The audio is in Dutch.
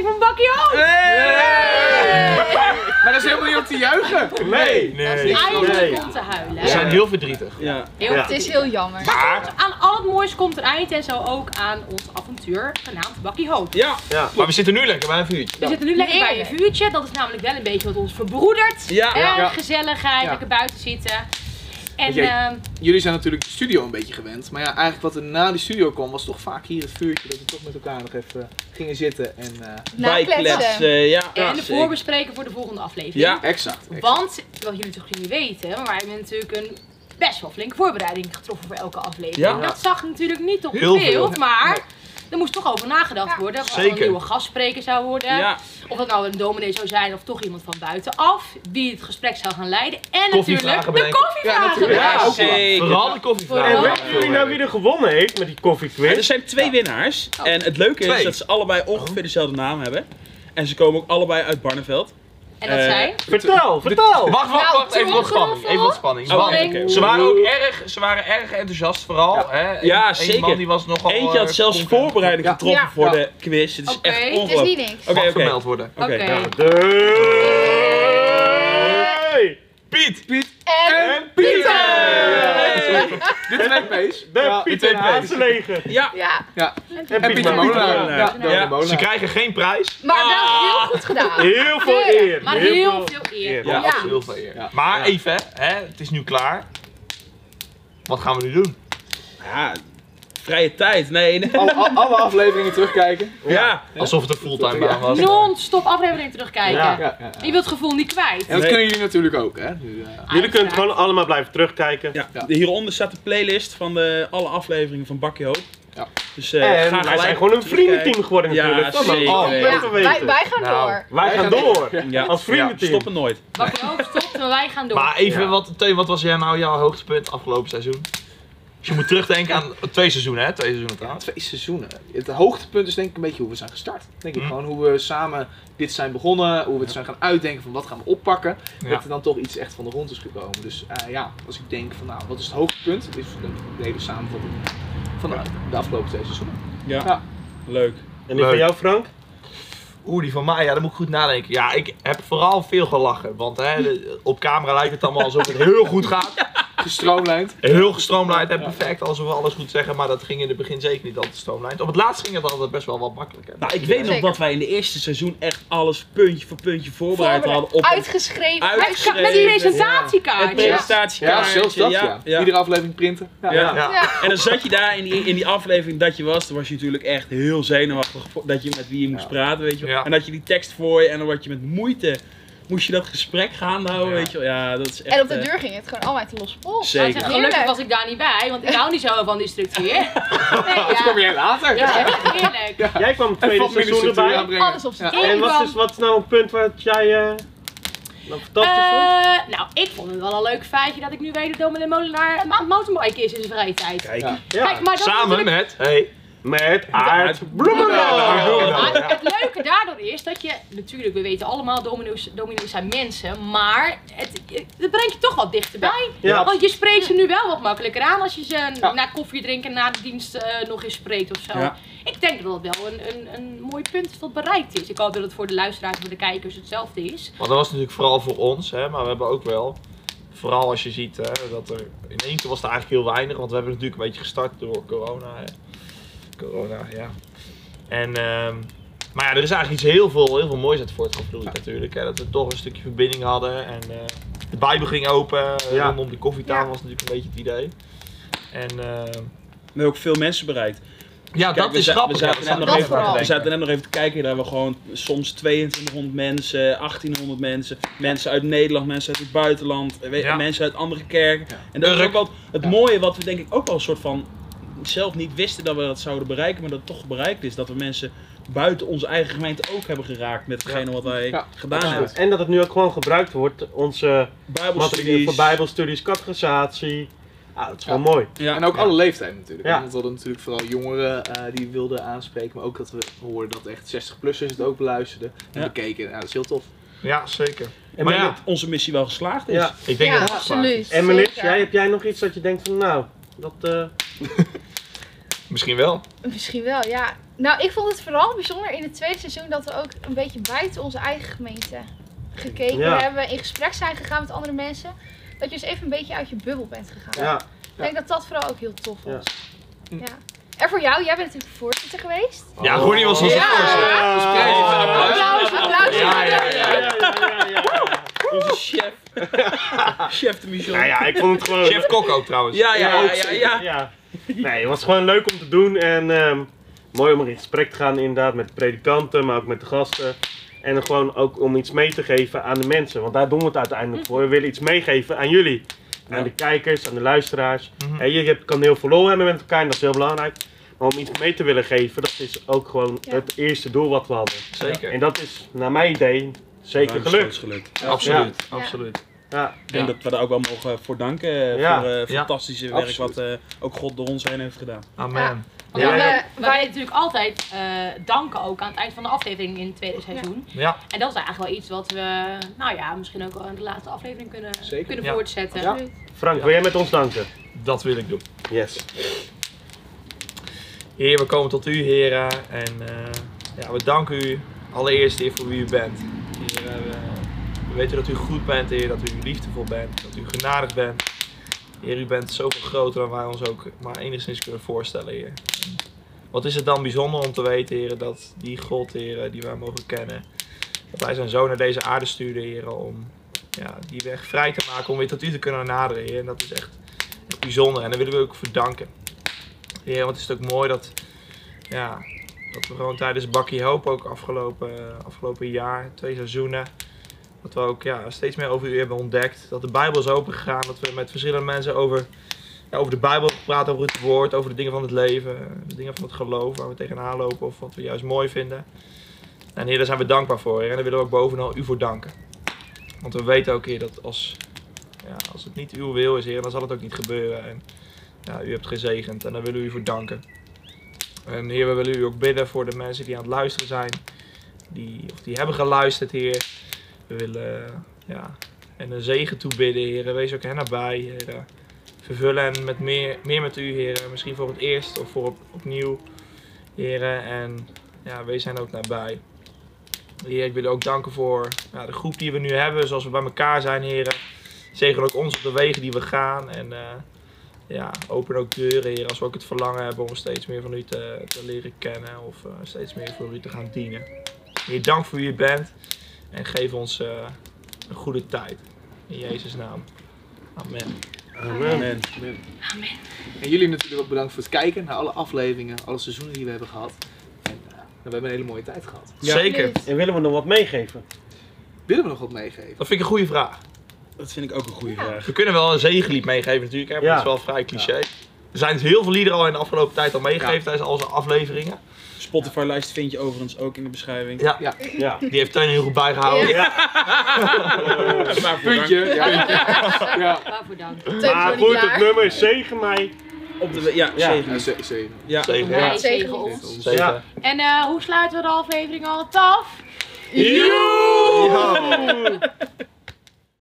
miljoen! Maar dat is helemaal niet om te juichen. Nee. Nee! Nee. Eindelijk om te huilen. We zijn heel verdrietig. Ja. Heel, Het is heel jammer. Maar- Aan al het moois komt er eind en zo ook aan ons avontuur genaamd Bakkie Hoop. Ja. Ja. Maar we zitten nu lekker bij een vuurtje. We zitten nu lekker bij een Heerlijk. vuurtje. Dat is namelijk wel een beetje wat ons verbroedert. Ja. En Ja. gezelligheid, Ja. lekker buiten zitten. En Oké. ehm, Jullie zijn natuurlijk de studio een beetje gewend. Maar ja, eigenlijk wat er na de studio kwam was toch vaak hier het vuurtje. Dat we toch met elkaar nog even eh, gingen zitten. En eh, Nou, Nakletsen. Bijkletsen. Eh, Ja. en Ja, de zeker. voorbespreken voor de volgende aflevering. Ja. exact. exact. Want, wat jullie toch niet weten, maar wij hebben natuurlijk een best wel flinke voorbereiding getroffen voor elke aflevering. Ja. Dat zag natuurlijk niet op het Heel beeld, veel. maar er moest toch over nagedacht worden. Of er een Zeker. nieuwe gastspreker zou worden. Ja. Of dat nou een dominee zou zijn of toch iemand van buitenaf. Wie het gesprek zou gaan leiden. En natuurlijk Koffievragen de bedenken. koffievragen. Ja, natuurlijk. bedenken. Ja, ook Vooral de Ja. koffievraag. En weten jullie nou wie er gewonnen heeft met die coffee Ja, er quiz? zijn twee winnaars. Oh. En het leuke is Twee. dat ze allebei ongeveer dezelfde naam hebben. En ze komen ook allebei uit Barneveld. En dat Eh, zijn. Vertel, vertel! Wacht, wacht, Nou, wacht. Even wat terug, spanning. Even wat spanning. Oh, Want oké, Spanning. oké. Ze waren ook erg, ze waren erg enthousiast vooral. Hè? Eén- Ja, één zeker. man die was nogal, Eentje had eh, zelfs content. voorbereiding Ja. getroffen Ja. voor Ja. de quiz. Het is Oké, echt het is Het is ongelooflijk. niet niks. Oké, Mag oké. vermeld worden. Oké. Oké. De... Piet! En En Pieter! De twee P's. De Ja, Pieter de twee P's. Hazenlegen. Ja. ja. En Pieter Molenaar. Molenaar. Ja, Ja. Pieter Molenaar. Ze krijgen geen prijs. Maar Ah. wel heel goed gedaan. Heel veel Eer, eer. Maar heel veel eer. Ja, Ja. dat is heel veel eer. Ja. Maar Ja. even, hè, het is nu klaar. Wat gaan we nu doen? Ja, vrije tijd. Nee, nee. Alle, al- alle afleveringen terugkijken. Ja. Alsof het een fulltime Ja. baan was. Non-stop aflevering terugkijken. Ja. Ja, ja, ja. Je wilt het gevoel niet kwijt. En dat Nee. kunnen jullie natuurlijk ook, hè? Nu, eh, Jullie kunnen gewoon allemaal blijven terugkijken. ja. Ja. Hieronder staat de playlist van de, alle afleveringen van Bakkie Hoop. Ja. Dus eh, En ga wij zijn gelijk gewoon een vriendenteam terugkijken. geworden Ja, natuurlijk. Dat mag zeker. altijd Ja. te Wij, weten. wij gaan Nou. door. Wij gaan door. Ja. Als vriendenteam. Stoppen nooit. Wat je ook stopt, maar wij gaan door. Maar even, Ja. wat, Teun, wat was jij nou jouw hoogtepunt afgelopen seizoen? Dus je moet terugdenken aan twee seizoenen, hè? Twee seizoenen Ja, trouwens. twee seizoenen. Het hoogtepunt is denk ik een beetje hoe we zijn gestart. Denk ik Mm. gewoon hoe we samen dit zijn begonnen, hoe we het zijn gaan uitdenken van wat gaan we oppakken. Ja. Dat er dan toch iets echt van de grond is gekomen. Dus eh, ja, als ik denk van nou, wat is het hoogtepunt? Is de, de hele samenvatting van de, de afgelopen twee seizoenen. Ja. Ja. Leuk. En die van Leuk. jou Frank? Oeh, die van mij, ja, daar moet ik goed nadenken. Ja, ik heb vooral veel gelachen. Want hè, de- op camera lijkt het allemaal alsof het heel goed gaat. Gestroomlijnd. Heel gestroomlijnd en perfect, alsof we alles goed zeggen. Maar dat ging in het begin zeker niet altijd gestroomlijnd. Op het laatst ging het altijd best wel wat makkelijker. Nou, ik weet nog Zeker. dat wij in de eerste seizoen echt alles puntje voor puntje voorbereid Voorbereid. hadden op een Uitgeschreven. Uitgeschreven. Met die presentatiekaartje. het Ja, presentatiekaartje. zelfs dat ja. Iedere aflevering printen. Ja. Ja. Ja. Ja. En dan zat je daar in die, in die aflevering dat je was, dan was je natuurlijk echt heel zenuwachtig voor- dat je met wie je moest Ja. praten, weet je wel. Ja. En dat je die tekst voor je en dan word je met moeite, moest je dat gesprek gaan houden, Ja. weet je wel. Ja, dat is echt... En op de eh, deur ging het gewoon allemaal uit de losse pol. Nou, Zeker. zeg, gelukkig Heerlijk. was ik daar niet bij, want ik hou niet zo van die structuur. Nee, Dat ja. kom jij later. Dat is echt heerlijk. Ja. Jij kwam het En tweede wat minder seizoen structuur erbij. aanbrengen. Alles op zijn Ja. Ik En wat kwam- is, wat is nou een punt wat jij eh nou fantastisch vond? Eh, nou, ik vond het wel een leuk feitje dat ik nu weet dat Dominee Molenaar aan het mountainbiken is in zijn vrije tijd. Kijk. Ja. Kijk, maar dat is Samen natuurlijk- met... Hey. Met Aard Bloemendaal. Bloemendaal. Maar het leuke daardoor is dat je, natuurlijk, we weten allemaal, domino's, domino's zijn mensen, maar het, het brengt je toch wat dichterbij. Ja. Want je spreekt ze nu wel wat makkelijker aan als je ze Ja. na koffie drinken, na de dienst eh, nog eens spreekt of zo. Ja. Ik denk dat dat wel een, een, een mooi punt is dat bereikt is. Ik hoop dat het voor de luisteraars en voor de kijkers hetzelfde is. Want dat was natuurlijk vooral voor ons, hè, maar we hebben ook wel. Vooral als je ziet hè, dat er in één keer was er eigenlijk heel weinig, want we hebben natuurlijk een beetje gestart door corona. Hè. Corona, ja. En, ehm, maar ja, er is eigenlijk iets heel veel, heel veel moois uit voortgevloeid natuurlijk. Hè, dat we toch een stukje verbinding hadden en eh, de Bijbel ging open. eh, Ja. Rondom de koffietafel Ja. was natuurlijk een beetje het idee. En ehm, We hebben ook veel mensen bereikt. ja, Kijk, dat we is za- we grappig. ja, zaten dat net staat nog er even- aan te We denken. zaten net nog even te kijken, daar we gewoon soms 2200 mensen, 1800 mensen, mensen uit Nederland, mensen uit het buitenland, we- Ja. mensen uit andere kerken. Ja. En dat is Urk. ook wel het Ja. mooie wat we denk ik ook wel een soort van zelf niet wisten dat we dat zouden bereiken, maar dat het toch bereikt is. Dat we mensen buiten onze eigen gemeente ook hebben geraakt met hetgene wat wij Ja. gedaan Absoluut. hebben. En dat het nu ook gewoon gebruikt wordt, onze materiaal voor Bijbelstudies. bijbelstudies, categorisatie. Ah, dat is wel Ja. mooi. Ja. En ook alle leeftijden natuurlijk. Ja. Want we hadden natuurlijk vooral jongeren eh, die wilden aanspreken. Maar ook dat we hoorden dat echt 60-plussers het ook beluisterden. En Ja. bekeken. Nou, dat is heel tof. Ja, zeker. En Maar Ik meneer- denk dat onze missie wel geslaagd is. ja. Ik denk Ja, dat het geslaagd is. absoluut. En meneer, Zeker. jij, heb jij nog iets dat je denkt van nou, dat... eh, Misschien wel. Misschien wel, ja. Nou, ik vond het vooral bijzonder in het tweede seizoen dat we ook een beetje buiten onze eigen gemeente gekeken Ja. hebben, in gesprek zijn gegaan met andere mensen. Dat je dus even een beetje uit je bubbel bent gegaan. Ja. Ik denk dat dat vooral ook heel tof Ja. was. Ja. En voor jou, jij bent natuurlijk voorzitter geweest. Ja, Oh. Ronnie was onze Ja. voorzitter. Oh. Ja. Applaus, applaus. Ja, ja, ja. Ah. Ja, ja, ja, ja, ja. Onze chef. chef de Michel. Nou ja, ik vond het gewoon... Chef Kok ook trouwens. Ja, ja, ja, ook ja, zeker, ja. Nee, het was gewoon leuk om te doen en ehm, mooi om er in gesprek te gaan inderdaad met de predikanten, maar ook met de gasten. En dan gewoon ook om iets mee te geven aan de mensen, want daar doen we het uiteindelijk voor. We willen iets meegeven aan jullie, aan Ja. de kijkers, aan de luisteraars. Mhm. Hè, je hebt, kan heel veel lol hebben met elkaar en dat is heel belangrijk. Maar om iets mee te willen geven, dat is ook gewoon Ja. het eerste doel wat we hadden. Zeker. En dat is, naar mijn idee, zeker gelukt. gelukt. Absoluut, Ja. absoluut. Ja, Ik denk Ja. dat we daar ook wel mogen voor danken. eh, Ja. Voor het Ja. fantastische werk Absoluut. wat eh, ook God door ons heen heeft gedaan. Amen. Want Ja, we, ja. we willen natuurlijk altijd eh, danken ook aan het eind van de aflevering in het tweede seizoen. Ja, En dat is eigenlijk wel iets wat we, nou ja, misschien ook wel in de laatste aflevering kunnen, Zeker. kunnen Ja. voortzetten. Ja. Frank, wil jij met ons danken? dat wil ik doen. Yes. Heer, we komen tot u, heren. En eh, ja, we danken u allereerst, heer, voor wie u bent. Heer, eh, we- we weten dat u goed bent, heer, dat u liefdevol bent, dat u genadig bent. Heer, u bent zoveel groter dan wij ons ook maar enigszins kunnen voorstellen, heer. En Wat is het dan bijzonder om te weten, heer, dat die God, heer, die wij mogen kennen, dat hij zijn zoon naar deze aarde stuurde, heer, om ja, die weg vrij te maken, om weer tot u te kunnen naderen, heer. En dat is echt, echt bijzonder en daar willen we u ook voor danken. Heer, want het is ook mooi dat ja, dat we gewoon tijdens Bakkie Hoop ook afgelopen, eh, afgelopen jaar, twee seizoenen, dat we ook ja, steeds meer over u hebben ontdekt. Dat de Bijbel is opengegaan, dat we met verschillende mensen over, ja, over de Bijbel praten, over het woord, over de dingen van het leven, de dingen van het geloof waar we tegenaan lopen of wat we juist mooi vinden. En Heer, daar zijn we dankbaar voor Heer, en daar willen we ook bovenal u voor danken. Want we weten ook Heer dat als, ja, als het niet uw wil is Heer, dan zal het ook niet gebeuren. En, ja, u hebt gezegend en daar willen we u voor danken. En Ehm, Heer, we willen u ook bidden voor de mensen die aan het luisteren zijn. Die, of die hebben geluisterd, Heer. We willen eh, ja, en een zegen toebidden, Heer. Wees ook hen nabij, Heer. Vervullen hen met meer, meer met u, Heer. Misschien voor het eerst of voor op, opnieuw, Heer. En ja, wees hen ook nabij. Heer, ik wil u ook danken voor ja, de groep die we nu hebben, zoals we bij elkaar zijn, Heer. Zegen ook ons op de wegen die we gaan. En eh, ja, open ook deuren, Heer, als we ook het verlangen hebben om steeds meer van u te, te leren kennen of eh, steeds meer voor u te gaan dienen. Heer, dank voor wie u bent en geef ons eh, een goede tijd. In Jezus' naam. Amen. Amen. Amen. En jullie natuurlijk ook bedankt voor het kijken naar alle afleveringen, alle seizoenen die we hebben gehad. En, eh, nou, we hebben een hele mooie tijd gehad. Ja. Zeker. En willen we nog wat meegeven? Willen we nog wat meegeven? Dat vind ik een goede vraag. Dat vind ik ook een goede Ja. vraag. We kunnen wel een zegenlied meegeven natuurlijk, hè, maar Ja. dat is wel vrij cliché. Er zijn heel veel liederen al in de afgelopen tijd al meegegeven tijdens al zijn afleveringen. Spotify-lijst vind je overigens ook in de beschrijving. Ja. Ja. Die heeft Teun heel goed bijgehouden. Ja. Maar voor Puntje. Ja, ja. Waarvoor dank. Teun Maar voor die goed, het jaar. nummer is zegen mij. dank. Op de, ja, Ja. zegen. ja. Nou, ze- ze- Ja. Zegen. Wij Ja. zegenen Zegen ons. Zeker. Ja. En eh, hoe sluiten we de aflevering altijd af? Joe!